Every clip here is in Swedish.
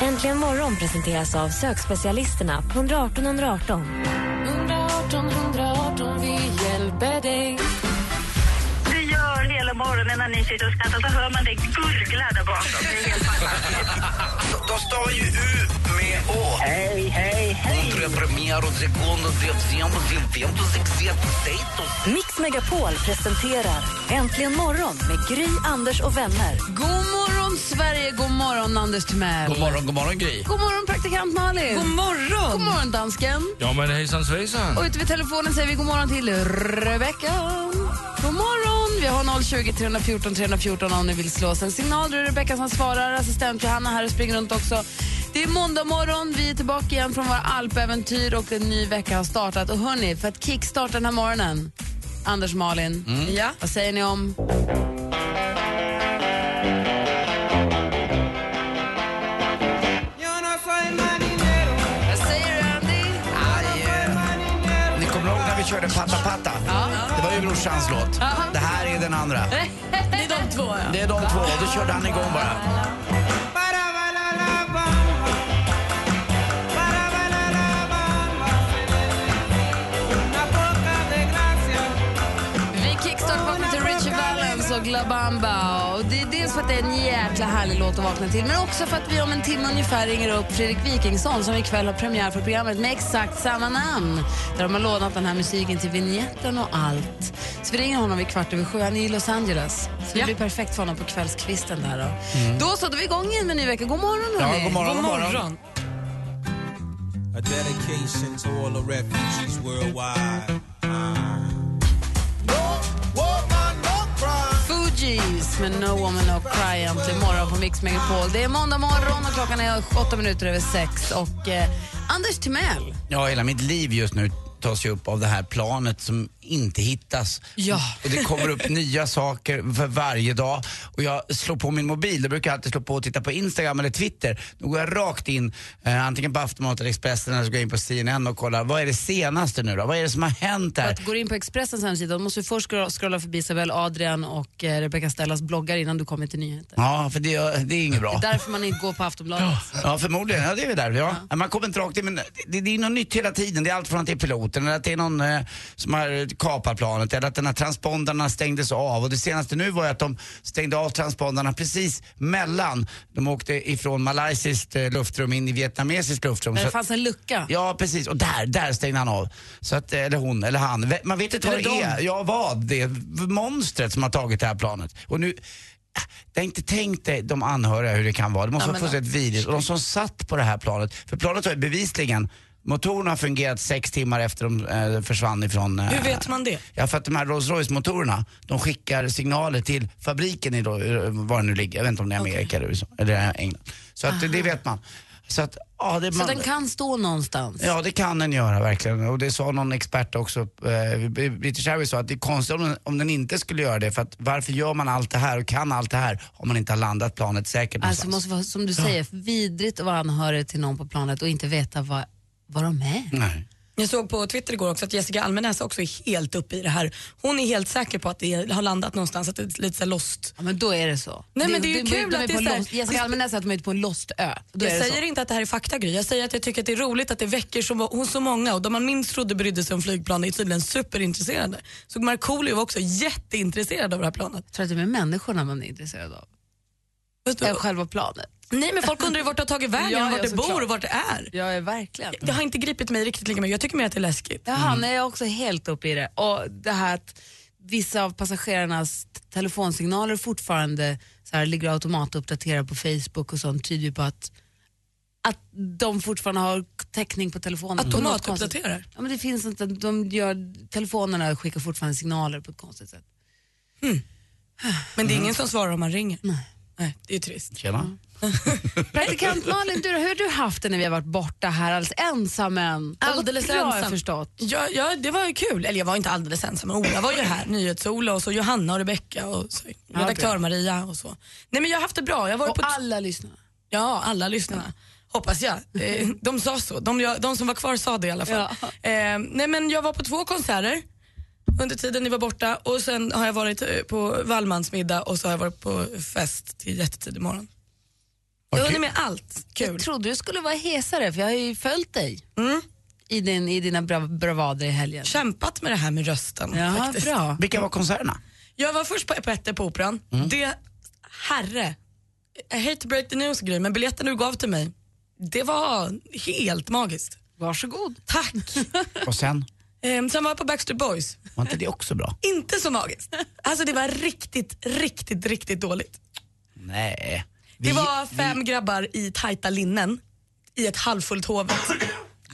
Äntligen morgon presenteras av sökspecialisterna på 118 118. 118 118, vi hjälper dig. Det gör hela morgonen när ni sitter och skrattar så hör man det gurgla där bakom. Det är helt fantastiskt. De stavar ju U med Å. Hej, hej, hej! Tre premiär och sekund och december, september, sextember, status. Mix Megapol presenterar Äntligen morgon med Gry, Anders och vänner. God morgon, Sverige! God morgon, Anders Timell. God morgon, god morgon, Gry. God morgon, praktikant Malin. God morgon, god morgon dansken. Ja men hejsan svejsan. Och ute vid telefonen säger vi god morgon till Rebecca. God morgon! Vi har 020 314 314 om ni vill slå oss en signal. Det är Rebecca som svarar. Assistent Johanna här och springer runt också. Det är måndag morgon, vi är tillbaka igen från våra alpäventyr och en ny vecka har startat. Och hörni, för att kickstarta den här morgonen, Anders Malin, ja. vad säger ni om... Vad säger du, Andy? Ni kommer ihåg när vi körde Patta Patta? Det var ju brorsans låt. Det här är den andra. Det är de två, ja. Det är de två. Då körde han igång bara. Vi kickstartvaknar till Richie Valens och Glabamba. Och det är dels för att det är en jäkla härlig låt att vakna till men också för att vi om en timme ungefär ringer upp Fredrik Wikingsson som ikväll har premiär för programmet med exakt samma namn. Där de har lånat den här musiken till vignetten och allt. Så vi ringer honom vid kvart över sju. Han är i Los Angeles. Så det blir perfekt för honom på kvällskvisten där då. Då så, då är vi igång igen med en ny vecka. God morgon Mm. Ja, hörni. god morgon, god morgon. A dedication to all the refugees worldwide. Fugees med No Woman No Cry äntligen morgon på Mix Megapol. Det är måndag morgon och klockan är åtta minuter över sex. Och eh, Anders Timell, Ja, hela mitt liv just nu tas ju upp av det här planet som inte hittas. Ja. Och det kommer upp nya saker för varje dag. Och jag slår på min mobil, då brukar jag alltid slå på och titta på Instagram eller Twitter. Då går jag rakt in, eh, antingen på Aftonbladet eller Expressen eller så går jag in på CNN och kollar, vad är det senaste nu då? Vad är det som har hänt för här? att går in på Expressens hemsida, då måste du först scro- scrolla förbi Isabel Adrian och eh, Rebecca Stellas bloggar innan du kommer till nyheter. Ja, för det, det är inget bra. Det är därför man inte går på Aftonbladet. Ja, förmodligen. Ja, det är vi där. Ja. Man kommer inte rakt in, men det, det är något nytt hela tiden. Det är allt från att det är piloten eller att det är någon eh, som har kapat planet eller att den här transpondrarna stängdes av. Och det senaste nu var ju att de stängde av transpondrarna precis mellan. De åkte ifrån malaysiskt eh, luftrum in i vietnamesiskt luftrum. Men Så det att- fanns en lucka. Ja, precis. Och där, där stängde han av. Så att, eh, eller hon, eller han. Ve- Man vet inte vad Eller det är. de. Ja, vad det är. V- Monstret som har tagit det här planet. Och nu, äh, det har inte tänkt dig de anhöriga hur det kan vara. Det måste Ja, ha men fått ett video. Och de som satt på det här planet, för planet har ju bevisligen Motorerna har fungerat sex timmar efter de eh, försvann ifrån... Eh, Hur vet man det? Ja, för att de här Rolls Royce-motorerna, de skickar signaler till fabriken i då, var det nu ligger. Jag vet inte om det är Amerika eller USA, eller England. Så att, det vet man. Så att, ja, det, Så man, den kan stå någonstans. Ja, det kan den göra verkligen. Och det sa någon expert också, eh, British Airways sa att det är konstigt om den, om den inte skulle göra det. För att varför gör man allt det här och kan allt det här om man inte har landat planet säkert Alltså det någonstans? måste vara, som du säger, vidrigt att vara anhörig till någon på planet och inte veta vad, vad de är. Nej. Jag såg på Twitter igår också att Jessica Almenäs också är helt uppe i det här. Hon är helt säker på att det har landat någonstans, att det är lite så här lost. Ja, men då är det så. Nej, men det är ju de- kul de att på det är en så här- lost- Jessica Almenäs säger att de är ute på en lost ö. Då är jag det så. säger inte att det här är faktagry, jag säger att jag tycker att det är roligt att det väcker så, hos så många och de man minst trodde brydde sig om flygplan är tydligen superintresserade. Så Markoolio var också jätteintresserad av det här planet. tror att det är människorna man är intresserad av. Vet du? Än själva planet. Nej men folk undrar ju vart det har tagit vägen, Ja, vart ja, det såklart. bor och vart det är. Ja, ja, verkligen. Det har inte gripit mig riktigt lika mycket, jag tycker mer att det är läskigt. Jaha, nej, jag är också helt uppe i det. Och det här att vissa av passagerarnas t- telefonsignaler fortfarande så här, ligger automatuppdaterade på Facebook och sånt tyder ju på att, att de fortfarande har täckning på telefonen. på något konstigt- Automatuppdaterar. Ja, men det finns inte, de gör, telefonerna skickar fortfarande signaler på ett konstigt sätt. Men det är ingen som svarar om man ringer. Nej. Nej, det är trist. Tjena. Praktikant Malin, du, då, hur har du haft det när vi har varit borta här alldeles ensam än? Det har gått Alldeles bra, har jag ensam. förstått. Ja, ja, det var ju kul. Eller jag var inte alldeles ensam. men Ola var ju här, NyhetsOla och så Johanna och Rebecka och så redaktör bra. Maria och så. Nej men jag har haft det bra. Jag var Och på alla lyssnar. Ja, alla lyssnarna. Hoppas jag. Eh, De sa så. De, jag- de som var kvar sa det i alla fall. Eh, nej men jag var på två konserter under tiden ni var borta och sen har jag varit eh, på Wallmansmiddag och så har jag varit på fest till jättetidig morgon. Jag Vad hinner kul. med allt. Kul. Jag trodde du skulle vara hesare för jag har ju följt dig i, din, i dina bra, bravader i helgen. Kämpat med det här med rösten Ja, faktiskt. bra. Vilka var konserterna? Jag var först på Petter på Operan. Det, herre, I hate to break the news grej, men biljetten du gav till mig, det var helt magiskt. Varsågod. Tack. Och sen, Ehm, sen var jag på Backstreet Boys. var inte det också bra? Inte så magiskt. Alltså det var riktigt, riktigt, riktigt dåligt. Nej. Det Vi- var fem grabbar i tajta linnen i ett halvfullt hovet.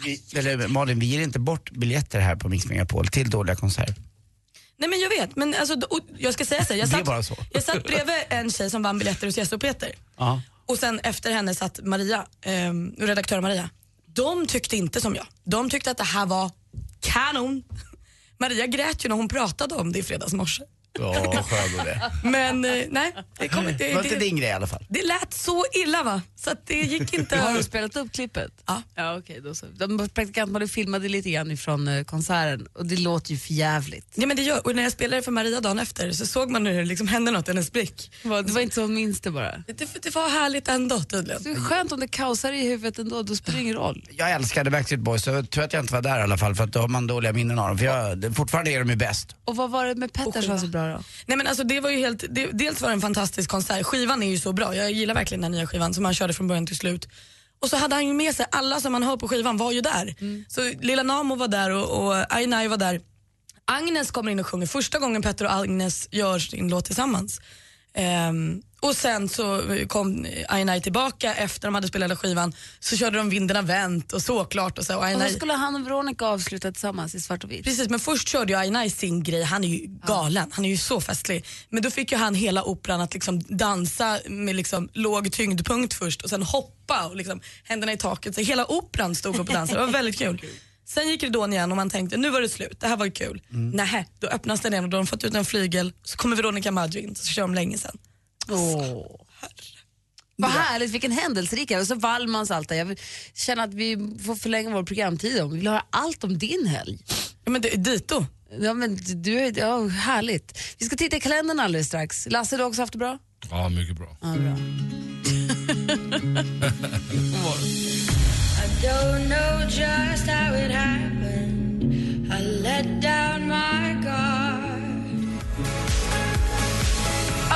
vi, eller, Malin, vi ger inte bort biljetter här på Mix Megapol till dåliga konserter. Nej men jag vet, men alltså, och jag ska säga så här, jag Det är bara satt, så. jag satt bredvid en tjej som vann biljetter hos Jesse och Peter. Ja. Och sen efter henne satt Maria, eh, redaktör Maria. De tyckte inte som jag. De tyckte att det här var kanon. Maria grät ju när hon pratade om det i fredags morse. Ja, skön och det. Men eh, nej, det, kom, inte- Det var inte det, din grej i alla fall. det lät så illa va, så att det gick inte. Har du spelat upp klippet? Ja. ja okej, då så. De praktikant Malin filmade lite grann ifrån eh, konserten och det låter ju för jävligt. Ja, men det gör, och när jag spelade för Maria dagen efter så såg man hur det liksom hände något i hennes blick. Det var, det var inte så hon minns det bara. Det, det var härligt ändå tydligen. Det är skönt om det kaosar i huvudet ändå, då spelar det ingen roll. Jag älskade Backstreet Boys, så jag tror att jag inte var där i alla fall för att då har man dåliga minnen av dem. För jag, det- fortfarande är de ju bäst. Och vad var det med Petter som var så bra då? Nej men alltså det var ju helt, det, dels var det en fantastisk konsert, skivan är ju så bra, jag gillar verkligen den nya skivan som han körde från början till slut. Och så hade han ju med sig, alla som han hör på skivan var ju där. Mm. Så Lilla Namo var där och, och Ainai var där. Agnes kommer in och sjunger första gången Petter och Agnes gör sin låt tillsammans. Ehm, och sen så kom Ainai tillbaka efter de hade spelat hela skivan så körde de Vinden har vänt och såklart och så. Och Och så Ainai, skulle han och Veronica avsluta tillsammans i svart och vitt. Precis, men först körde jag Ainai sin grej, han är ju galen, han är ju så festlig. Men då fick ju han hela operan att liksom dansa med liksom låg tyngdpunkt först och sen hoppa och liksom händerna i taket. Så hela operan stod upp och dansade, det var väldigt kul. Sen gick ridån igen och man tänkte nu var det slut, det här var ju kul. Nähä, då öppnas den igen och då har de fått ut en flygel så kommer Veronica Maggio in så kör de länge sen. Åh. Vad härligt, vilken händelserik Och så Wallmans allt det. Jag vill- känner att vi får förlänga vår programtid om. Vi vill höra allt om din helg. Mm. Ja, men det, dito. Ja, men du är, ja, härligt. Vi ska titta i kalendern alldeles strax. Lasse, du har också haft det bra? Ja, mycket bra. Ja, bra.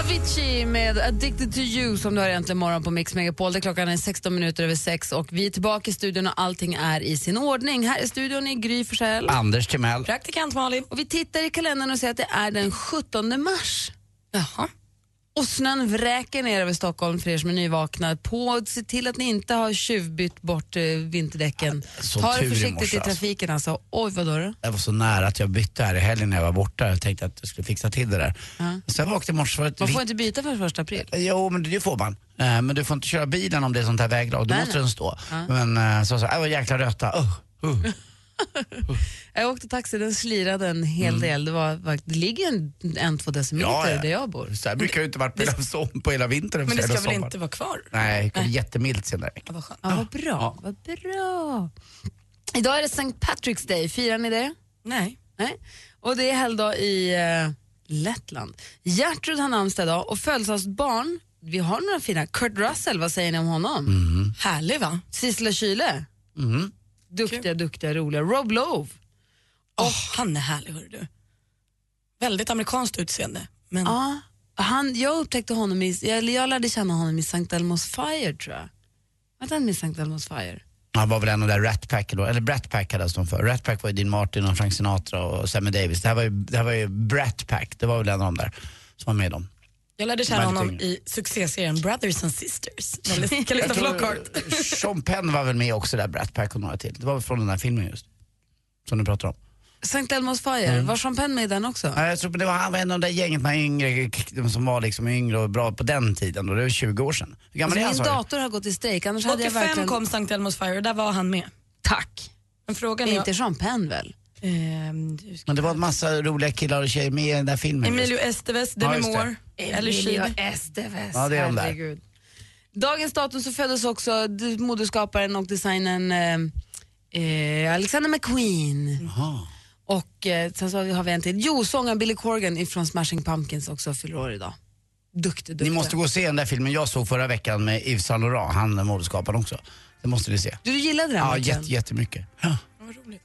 Avicii med Addicted to you som du har egentligen morgon på Mix Megapol. Det är klockan är 16 minuter över 6 och vi är tillbaka i studion och allting är i sin ordning. Här i studion är Gry Forssell. Anders Timell. Praktikant Malin. Och vi tittar i kalendern och ser att det är den 17 mars. Jaha. Och snön vräker ner över Stockholm för er som är nyvakna. På, se till att ni inte har tjuvbytt bort eh, vinterdäcken. så Ta tur det i försiktigt morse, i trafiken alltså. Oj, vad då? då? Jag var så nära att jag bytte här i helgen när jag var borta. Jag tänkte att jag skulle fixa till det där. Sen vaknade jag i morse för att... Man vi- får inte byta förrän första april. Jo, men det får man. Eh, Men du får inte köra bilen om det är sånt här väglag. Då Nej, måste nej. den stå. Men eh, så sa jag, "Aj, vad jäkla röta. Uh, uh. Jag åkte taxi, den slirade en hel del. Det, var, var- det ligger en, en två decimeter Mm. Ja, ja. där jag bor. Så här brukar det ju inte varit på hela, som, på hela vintern. Men det hela ska väl sommaren. inte vara kvar? Nej, det kom jättemilt senare veckan. Ja, vad skönt. Ja, vad bra, vad bra. Idag är det St. Patrick's Day, firar ni det? Nej. Nej. Och det är helgdag i eh, Lettland. Gertrud har namnsdag idag och födelsedagsbarn, vi har några fina. Kurt Russell, vad säger ni om honom? Härlig va? Sissela Kyle. Mm. Duktiga, duktiga, roliga. Rob Lowe. Åh, han är härlig hörru du. Väldigt amerikanskt utseende. Men Ja, han, jag upptäckte honom i, eller jag lärde känna honom i St. Elmo's Fire tror jag. Var inte han med i St. Elmo's Fire? Han var väl en av de där Rat Pack, då, eller Brat Pack kallades de för. Rat Pack var ju Dean Martin och Frank Sinatra och Sammy Davis. Det här var ju, det här var ju Brat Pack, det var väl en av de där som var med dem. jag lärde känna Väldigt honom yngre. i succéserien Brothers and Sisters. Eller Calista Flockhart. eh, Sean Penn var väl med också där, Brat Pack och några till. Det var väl från den här filmen just, som du pratar om. St. Elmos Fire, var Champagne med i den också? Ja, jag tror det var, han var en av de där gänget med yngre, de som var liksom yngre och bra på den tiden då, det var 20 år sedan. Hur gammal är han Alltså, sa min du? dator har gått i strejk, annars hade jag 85 verkligen... kom St. Elmos Fire och där var han med. Tack. Men frågan är... Inte Champagne väl? Ehm, du ska- Men det var en massa roliga killar och tjejer med i den där filmen. Emilio Estevez, Ja, Demi just det. Moore, eller Emilio Kid. Estevez. Ja, det är de där. Herregud. Dagens datum så föddes också d- modeskaparen och designern eh, eh, Alexander McQueen. Jaha. Och eh, sen så har vi- har vi en till. Jo, sångaren Billy Corgan från Smashing Pumpkins också fyller år idag. Duktig, duktig. Ni måste gå och se den där filmen jag såg förra veckan med Yves Saint Laurent, han är modeskaparen också. Det måste ni se. Du gillade den? Ja, verkligen? jätte, jättemycket. Ja. Vad roligt.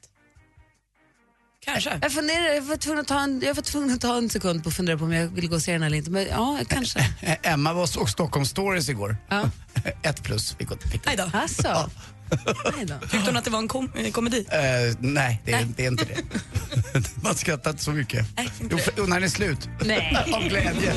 Kanske. Jag, funderar, jag, var tvungen att ta en, jag var tvungen att ta en sekund på att fundera på om jag vill gå och se den eller inte. Men ja, kanske. Eh, Emma var och såg Stockholm Stories igår. Ja. Ett plus fick hon. Fick hon. Aj då. Alltså. Nej då. Tyckte hon att det var en kom- eh, komedi? Eh, nej, det är, det är inte det. Man skrattar inte så mycket. Jo, för, jo, när den är slut. Nej. Av glädje.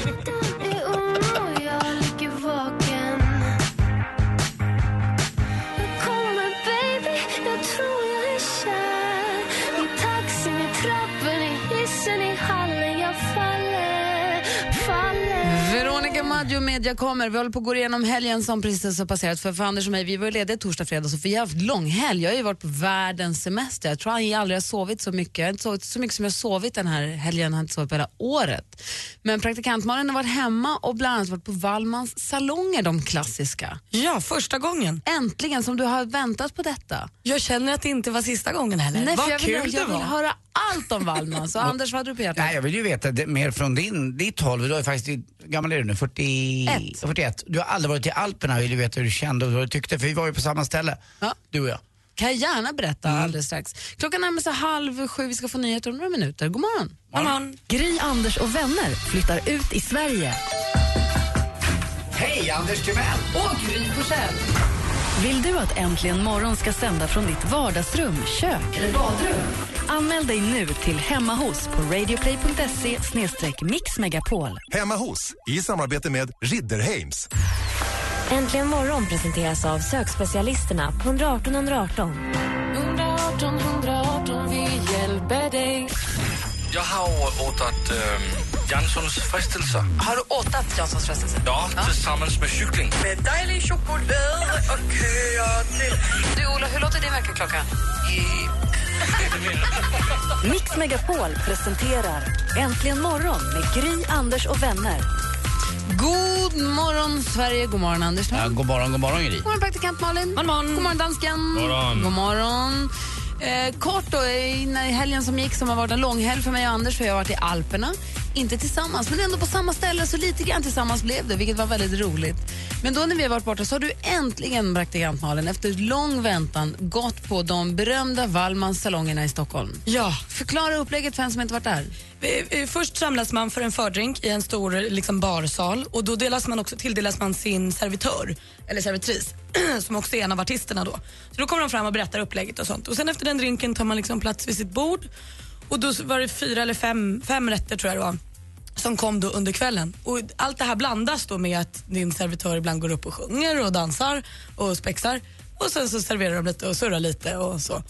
Veronica Maggio Media kommer. Vi håller på att gå igenom helgen som precis har passerat. För, för Anders och mig, vi var ju lediga torsdag, fredag, så vi har haft lång helg. Jag har ju varit på världens semester. Jag tror jag aldrig har sovit så mycket. Jag har inte sovit så mycket som jag har sovit den här helgen. Jag har inte sovit på hela året. Men praktikantmannen har varit hemma och bland annat varit på Wallmans salonger, de klassiska. Ja, första gången. Äntligen, som du har väntat på detta. Jag känner att det inte var sista gången heller. Nej, för Vad jag vill, kul jag det vill var. höra allt om Wallmans. Och Anders, vad hade du på hjärtat? Nej, jag vill ju veta det, mer från din, ditt håll. Du har ju faktiskt, hur gammal är du nu? 40, Ett. 41. Du har aldrig varit i Alperna och vill ju veta hur du kände och vad du tyckte. För vi var ju på samma ställe, Ja. du och jag. kan jag gärna berätta Mm. alldeles strax. Klockan närmar sig halv sju, vi ska få nyheter om några minuter. God morgon! Come on. Gry, Anders och vänner flyttar ut i Sverige. Hej, Anders Timell! Vill du att Äntligen morgon ska sända från ditt vardagsrum, kök eller badrum? Anmäl dig nu till Hemma hos på radioplay.se mixmegapol. Hemma hos, i samarbete med Ridderheims. Äntligen morgon presenteras av sökspecialisterna på 118 118. 118 118, vi hjälper dig. Jag har åtat äh, Janssons frestelser. Har du åtat Janssons frestelse? Ja, tillsammans med cykling. Med dejlig choklad och köttel. Du Ola, hur låter din väckarklocka? Mix Megapol presenterar Äntligen morgon med Gry, Anders och vänner. God morgon Sverige, god morgon Anders. Ja, god morgon, god morgon Gry. God morgon praktikant Malin. God morgon. God morgon dansken. God morgon. Eh, kort då, eh, innan i helgen som gick som har varit en lång helg för mig och Anders för jag har varit i Alperna. Inte tillsammans, men ändå på samma ställe så lite grann tillsammans blev det, vilket var väldigt roligt. Men då när vi har varit borta så har du äntligen, praktikant Malin, efter lång väntan gått på de berömda Wallmans salongerna i Stockholm. Ja. Förklara upplägget för en som inte varit där. Eh, eh, Först samlas man för en fördrink i en stor eh, liksom, barsal och då delas man också, tilldelas man sin servitör eller servitris som också är en av artisterna. Då. Så då kommer de fram och berättar upplägget och sånt. Och sen efter den drinken tar man liksom plats vid sitt bord och då så var det fyra eller fem, fem rätter tror jag det var som kom då under kvällen. Och allt det här blandas då med att din servitör ibland går upp och sjunger och dansar och spexar och sen så serverar de lite och surrar lite och så.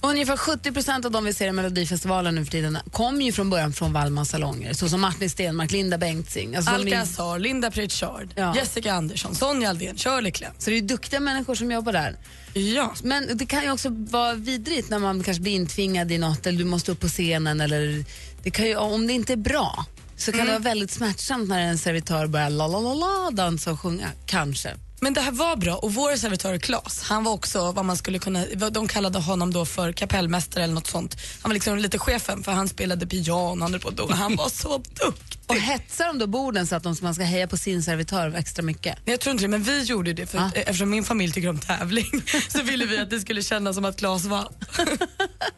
Ungefär 70 av de vi ser i Melodifestivalen nu för tiden kommer ju från början från Wallmans salonger. Så som Martin Stenmark, Linda Bengtzing. Alltså de är- Alcazar, Linda Pritchard, Ja. Jessica Andersson, Sonja Aldén, Shirley Clamp. Så det är ju duktiga människor som jobbar där. Ja. Men det kan ju också vara vidrigt när man kanske blir intvingad i något eller du måste upp på scenen. Eller det kan ju, om det inte är bra så kan det vara väldigt smärtsamt när en servitör börjar la la la la dansa och sjunga. Kanske. Men det här var bra och vår servitör Claes, han var också vad man skulle kunna, vad de kallade honom då för kapellmästare eller något sånt. Han var liksom lite chefen för han spelade piano, han, höll på, och han var så duktig. Och hetsar de då borden så att de, man ska heja på sin servitör extra mycket? Nej, Jag tror inte det, men vi gjorde det för, Ah. eftersom min familj tycker om tävling så ville vi att det skulle kännas som att Claes vann.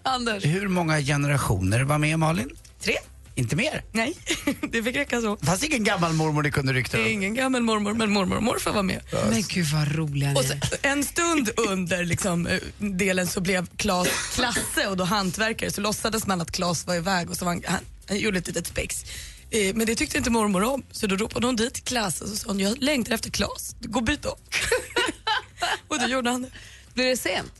Anders? Hur många generationer var med Malin? Tre? Inte mer? Nej, det fick räcka så. Det fanns ingen gammal mormor ni kunde rykta Det är om? ingen gammal mormor, men mormor och morfar var med. Men gud vad roliga ni Och är. sen, en stund under liksom, eh, delen så blev Claes Klasse och då hantverkare så låtsades man att Claes var iväg och så var han, han, han gjorde ett litet spex. Eh, Men det tyckte inte mormor om så då ropade hon dit Klasse och så sa hon jag längtar efter Claes, gå och byt om. och då gjorde han det. Blir det sent?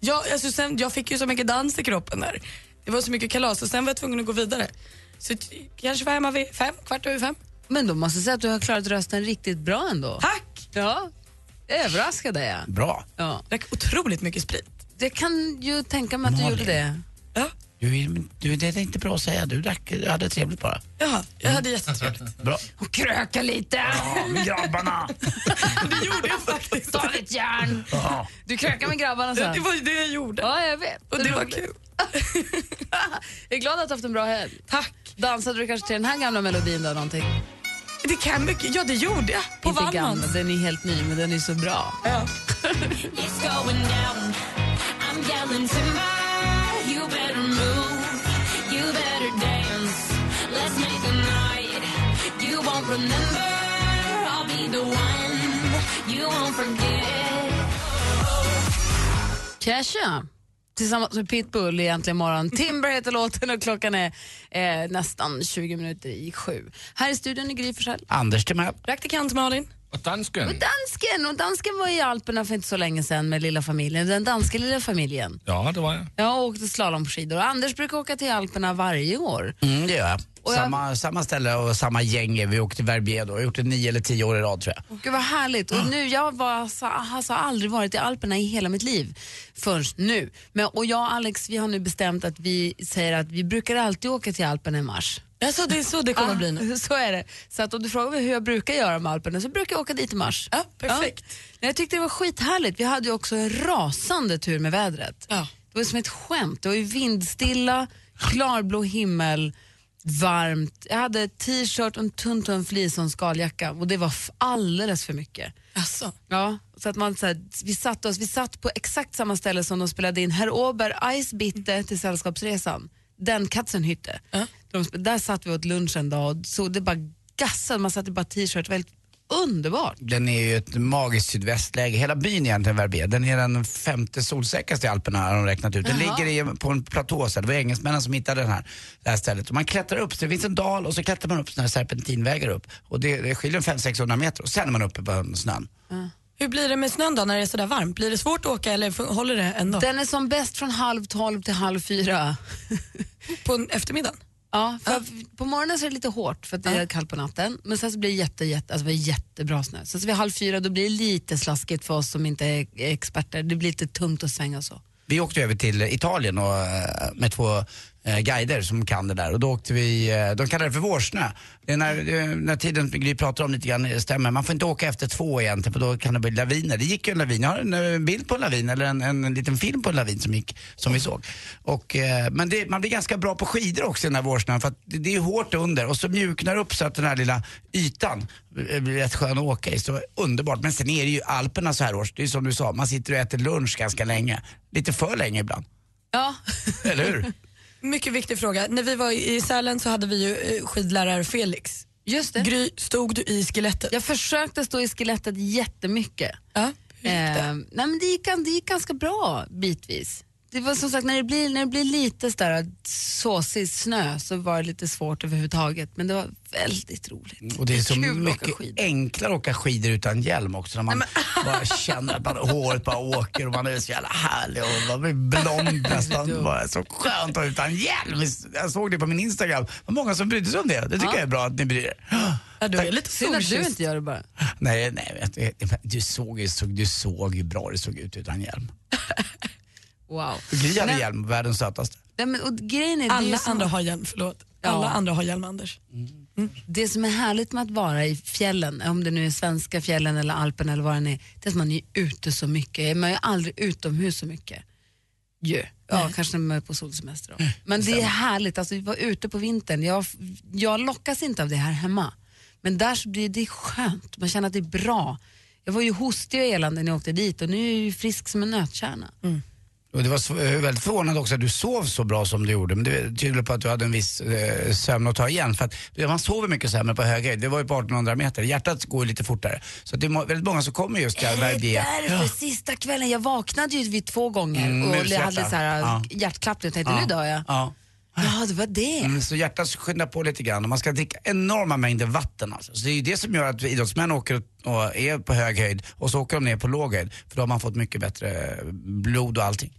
Jag, alltså sen, jag fick ju så mycket dans i kroppen där. Det var så mycket kalas och sen var jag tvungen att gå vidare. Så t- kanske var jag hemma vid fem, kvart över fem. Men då måste jag säga att du har klarat rösten riktigt bra ändå. Tack! Ja, överraskade jag. Bra. Ja. Drack otroligt mycket sprit. Jag kan ju tänka mig att du Malin. gjorde det. Du, är- du, det är inte bra att säga. Du drack, du hade trevligt bara. Jaha, jag hade jättetrevligt. Bra. Och kröka lite. Ja, med grabbarna. det gjorde jag faktiskt. Ta ett järn. Ja. Du krökade med grabbarna Det, sen. det var ju det jag gjorde. Ja, jag vet. Och det var Roligt. kul. Jag är glad att du har haft en bra helg. Tack. Dansade du kanske till den här gamla melodin då någonting? Det kan mycket. Ja, det gjorde jag. På Inte gamla, Wallmans. den är helt ny men den är så bra. Ja. Kesha tillsammans med Pitbull i Äntligen morgon. Timber heter låten och klockan är eh, nästan 20 minuter i sju. Här i studion är Gry Forssell. Anders Timell. Praktikant Malin. Och dansken. Och dansken! Och dansken var i Alperna för inte så länge sedan med lilla familjen. Den danska lilla familjen. Ja, det var jag. Jag åkte slalomskidor. Anders brukar åka till Alperna varje år. Mm, det gör jag. Och jag- Samma, samma ställe och samma gäng. är Vi åkte till Verbier då. Jag har gjort det nio eller tio år i rad tror jag. Gud vad härligt. Och nu, jag var, alltså, alltså, har aldrig varit i Alperna i hela mitt liv förrän nu. Men, och jag och Alex vi har nu bestämt att vi säger att vi brukar alltid åka till Alperna i mars. Alltså, det är så det kommer bli nu. Ah, Så är det. Så att om du frågar mig hur jag brukar göra med Alperna så brukar jag åka dit i mars. Ja, perfekt. Nej, Jag tyckte det var skithärligt. Vi hade ju också en rasande tur med vädret. Det var som ett skämt. Det var ju vindstilla, klarblå himmel, varmt. Jag hade t-shirt och en tunn tunn fleece som skaljacka och det var f- alldeles för mycket. Alltså. Ja, så att man så här, vi satt oss, vi satt på exakt samma ställe som de spelade in Herr Ober Eisbitte till Sällskapsresan. Den Katzenhütte. De, sp- där satt vi åt lunch en dag och så det bara gassade, man satt i bara t-shirt. Väldigt underbart. Den är ju ett magiskt sydvästläge. Hela byn egentligen, Verbier, den är den femte solsäkraste i Alperna har de räknat ut. Den Jaha. ligger i, på en platå, så här. det var engelsmännen som hittade den här, det här stället. Och man klättrar upp, så det finns en dal och så klättrar man upp sådana här serpentinvägar upp. Och det, det skiljer 500-600 meter och sen är man uppe på snön. Hur blir det med snön då när det är sådär varmt? Blir det svårt att åka eller fun- håller det ändå? Den är som bäst från halv tolv till halv fyra. På en- eftermiddagen? Ja, för På morgonen så är det lite hårt för att det är kallt på natten. Men sen så blir det jätte, jätte, alltså det var jättebra snö. Sen så vid halv fyra då blir det lite slaskigt för oss som inte är är experter. Det blir lite tungt att svänga och så. Vi åkte över till Italien och, eh, med två eh, guider som kan det där och då åkte vi, eh, de kallar det för vårsnö. Det är när, eh, när tiden Gry pratar om lite grann stämmer, man får inte åka efter två egentligen för då kan det bli laviner. Det gick ju en lavin, jag har en eh, bild på en lavin eller en, en liten film på en lavin som gick, som vi såg. Och, eh, men det, man blir ganska bra på skidor också i den här vårsnön för att det, det är hårt under och så mjuknar upp så att den här lilla ytan eh, blir rätt skön att åka i. Så underbart. Men sen är det ju Alperna så här års, det är som du sa, man sitter och äter lunch ganska länge. Lite för länge ibland. Ja. Eller hur? Mycket viktig fråga. När vi var i Sälen så hade vi ju eh, skidlärare Felix. Just det. Gry, stod du i skelettet? Jag försökte stå i skelettet jättemycket. Ja, eh, nej men det, gick, gan- det gick ganska bra bitvis. Det var som sagt när det blir, när det blir lite sådär såsig snö så var det lite svårt överhuvudtaget. Men det var väldigt roligt. Och det är så Kul att åka mycket enklare att åka skidor utan hjälm också. När man bara känner att man, håret bara åker och man är så jävla härlig och man blir blond nästan. Bara så skönt att vara utan hjälm. Jag såg det på min Instagram. Det var många som brydde sig om det. Det tycker Ja. jag är bra att ni bryr er. Ja, du är Tack. lite Synd att du inte gör det bara. Nej, nej, men det- du såg ju såg, du såg ju bra det såg ut utan hjälm. Wow. Gry hade Nej, hjälm, världens sötaste. nej, men, och grejen är, det är ju Alla som- andra har hjälm, förlåt. Ja. Alla andra har hjälm, Anders. Det som är härligt med att vara i fjällen, om det nu är svenska fjällen eller Alpen eller vad den är, det är att man är ute så mycket. Man är ju aldrig utomhus så mycket. Ju. Ja, kanske när man är på solsemester. Mm, Då. Men det är härligt, alltså vi var ute på vintern. Jag, jag lockas inte av det här hemma. Men där så blir det är skönt, man känner att det är bra. Jag var ju hostig och elande när jag åkte dit och nu är jag ju frisk som en nötkärna. Och det var sv- eh, väldigt förvånande också att du sov så bra som du gjorde. Men det tyder på att du hade en viss eh, sömn att ta igen. För att eh, man sover mycket sämre på hög höjd. Det var ju på 1800 meter. Hjärtat går ju lite fortare. Så det är må- väldigt många som kommer just där. Är det Verbier. därför Ja. sista kvällen, jag vaknade ju vid två gånger Mm, och jag mushjärta. hade så här, Ja. hjärtklappning och tänkte Ja. nu dör jag. Ja. Ja, det var det. Mm, så hjärtat skyndar på lite grann och man ska dricka enorma mängder vatten. Alltså. Så det är ju det som gör att idrottsmän åker och är på hög höjd och så åker de ner på låg höjd. För då har man fått mycket bättre blod och allting.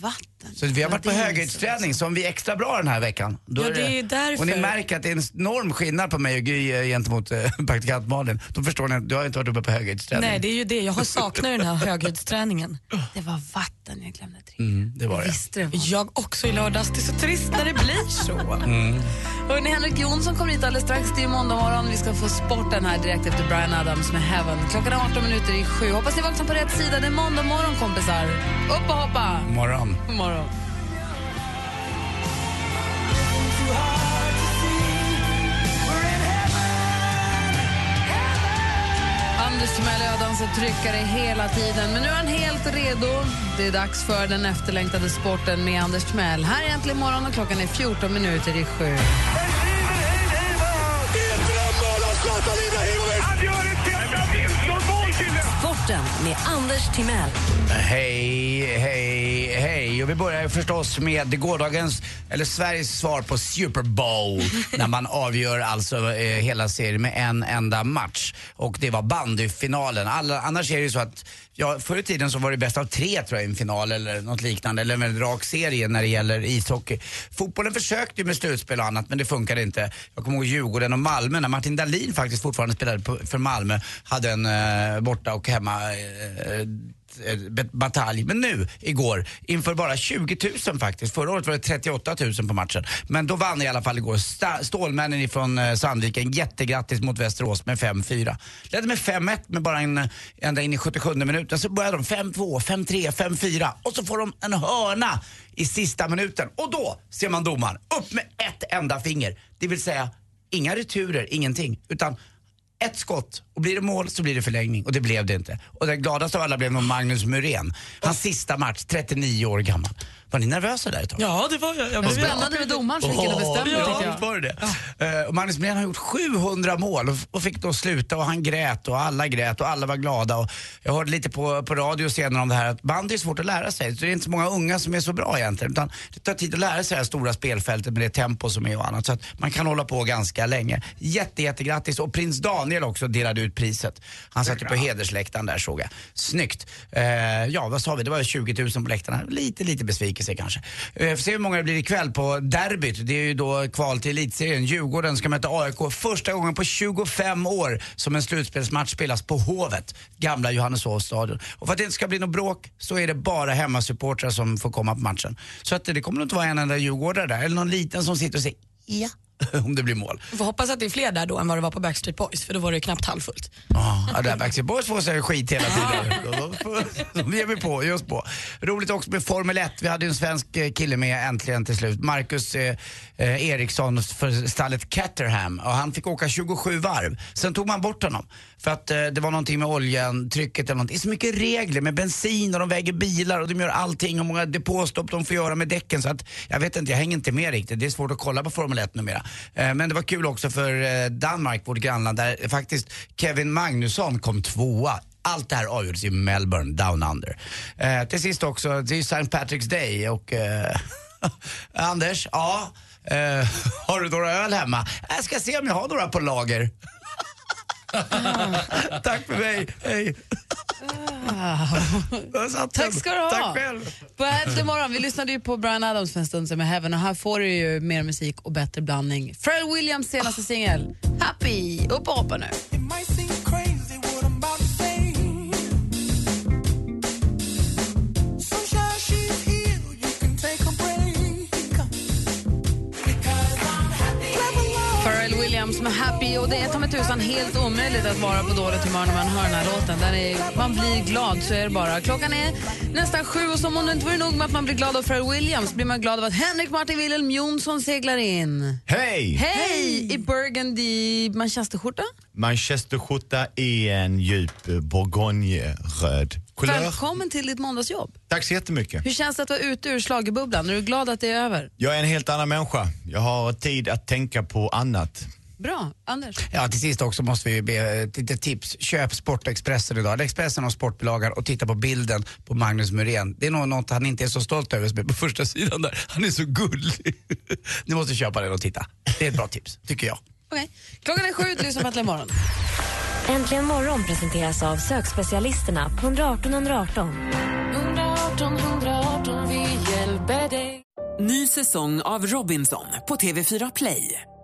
Vatten. Så vi har varit på höghöjdsträning som vi är extra bra den här veckan. Ja, det är ju därför. Och ni märker att det är en enorm skillnad på mig och Gry eh, gentemot eh, praktikant Malin. Då förstår ni att du har inte varit uppe på höghöjdsträning. Nej, det är ju det. Jag har saknat den här höghöjdsträningen. Det var vatten jag glömde Mm, det var det. Jag också i lördags. Det är så trist när det blir så. Mm. Hörrni, Henrik Jonsson kommer hit alldeles strax. Det är ju måndag morgon. Vi ska få sporten här direkt efter Brian Adams med Heaven. Klockan är 18 minuter i sju. Hoppas ni vaknar på rätt sida. Det är måndag morgon, kompisar. Upp och hoppa! Morgon. God morgon. Anders Timell och jag dansar tryckare hela tiden, men nu är han helt redo. Det är dags för den efterlängtade sporten med Anders Timell. Här är Äntligen morgon och klockan är 14 minuter i sju. Sporten med Anders Timell. Hej, hej, hej. Och vi börjar förstås med gårdagens, eller Sveriges svar på Super Bowl. när man avgör alltså eh, hela serien med en enda match. Och det var bandyfinalen. Alla, annars är det ju så att, ja, förr i tiden så var det bäst av tre tror jag i en final eller något liknande. Eller en väldigt rak serie när det gäller ishockey. Fotbollen försökte ju med slutspel och annat men det funkade inte. Jag kommer ihåg Djurgården och Malmö när Martin Dahlin faktiskt fortfarande spelade på, för Malmö. Hade en eh, borta och hemma eh, eh, bet- batalj. Men nu, igår, inför bara 20 000 faktiskt. Förra året var det 38 000 på matchen. Men då vann i alla fall igår Sta- Stålmännen från Sandviken. Jättegrattis mot Västerås med 5-4. Ledde med 5-1 med bara en, eh, ända in i 77 minuten. Så började de 5-2, 5-3, 5-4 och så får de en hörna i sista minuten. Och då ser man domaren upp med ett enda finger. Det vill säga, inga returer, ingenting. Utan ett skott och blir det mål så blir det förlängning och det blev det inte. Och den gladaste av alla blev nog Magnus Muren. Hans sista match, 39 år gammal. Var ni nervösa där ett tag? Ja, det var jag. jag blev- Spännande med domaren som fick hela bestämma, Ja, tycker jag. visst var det det. Eh, och Magnus Muren har gjort 700 mål och, och fick då sluta och han grät och alla grät och alla var glada. Och jag hörde lite på, på radio senare om det här att bandy är svårt att lära sig. Så det är inte så många unga som är så bra egentligen. Utan det tar tid att lära sig det här stora spelfältet med det tempo som är och annat. Så att man kan hålla på ganska länge. Jätte, jättegrattis. Och prins Daniel också delade ut priset. Han satt ju på hedersläktaren där såg jag. Snyggt. Eh, ja, vad sa vi? Det var 20 000 på läktarna. Lite, lite besvikelse kanske. Eh, får se hur många det blir ikväll på derbyt. Det är ju då kval till elitserien. Djurgården ska möta AIK. Första gången på 25 år som en slutspelsmatch spelas på Hovet, gamla Johanneshovs stadion. Och för att det inte ska bli något bråk så är det bara hemmasupportrar som får komma på matchen. Så att det kommer nog inte vara en enda djurgårdare där, eller någon liten som sitter och säger ja, om det blir mål. Vi får hoppas att det är fler där då än vad det var på Backstreet Boys, för då var det ju knappt halvfullt. Ja, det där Backstreet Boys får sig skit hela tiden. De får- De ger vi på, ger oss på. Roligt också med Formel 1. Vi hade ju en svensk eh, kille med äntligen till slut. Marcus eh, eh, Eriksson för stallet Caterham. Och han fick åka 27 varv. Sen tog man bort honom. För att eh, det var någonting med oljan, trycket eller något. Det är så mycket regler med bensin och de väger bilar och de gör allting. Hur många depåstopp de får göra med däcken. Så att, jag vet inte, jag hänger inte med riktigt. Det är svårt att kolla på Formel 1 numera. Eh, men det var kul också för eh, Danmark, vårt grannland, där faktiskt Kevin Magnusson kom tvåa. Allt det här avgjordes i Melbourne, down under. Eh, till sist också, det är ju St. Patrick's Day och eh, Anders, ja, eh, har du några öl hemma? Jag ska se om jag har några på lager. Tack för mig, hej. Ah. Tack ska du ha. Tack själv. På Äntligen morgon, vi lyssnade ju på Brian Adams för en stund sedan med Heaven och här får du ju mer musik och bättre blandning. Pharrell Williams senaste singel, Happy. Upp och hoppa nu. Pharrell Williams med Happy och det är ta mig tusan helt omöjligt att vara på dåligt humör när man hör den här låten. Den är, man blir glad, så är det bara. Klockan är nästan sju och som om det inte vore nog med att man blir glad av Pharrell Williams blir man glad av att Henrik Martin Wilhelm Jonsson seglar in. Hej! Hej! I Burgundy manchesterskjorta. Manchesterskjorta i en djup bourgogneröd kulör. Välkommen till ditt måndagsjobb. Tack så jättemycket. Hur känns det att vara ute ur schlagerbubblan? Är du glad att det är över? Jag är en helt annan människa. Jag har tid att tänka på annat. Bra. Anders? Ja, till sist också måste vi be eh, lite tips. Köp Sportexpressen idag. Eller Expressen har sportbilagan och titta på bilden på Magnus Muren. Det är nog något han inte är så stolt över som är på första sidan där. Han är så gullig. Ni måste köpa den och titta. Det är ett bra tips, tycker jag. Okej. Klockan är sju, lyssna på Äntligen morgon. Äntligen morgon presenteras av sökspecialisterna på 118 118. 118 118, vi hjälper Ny säsong av Robinson på TV4 Play.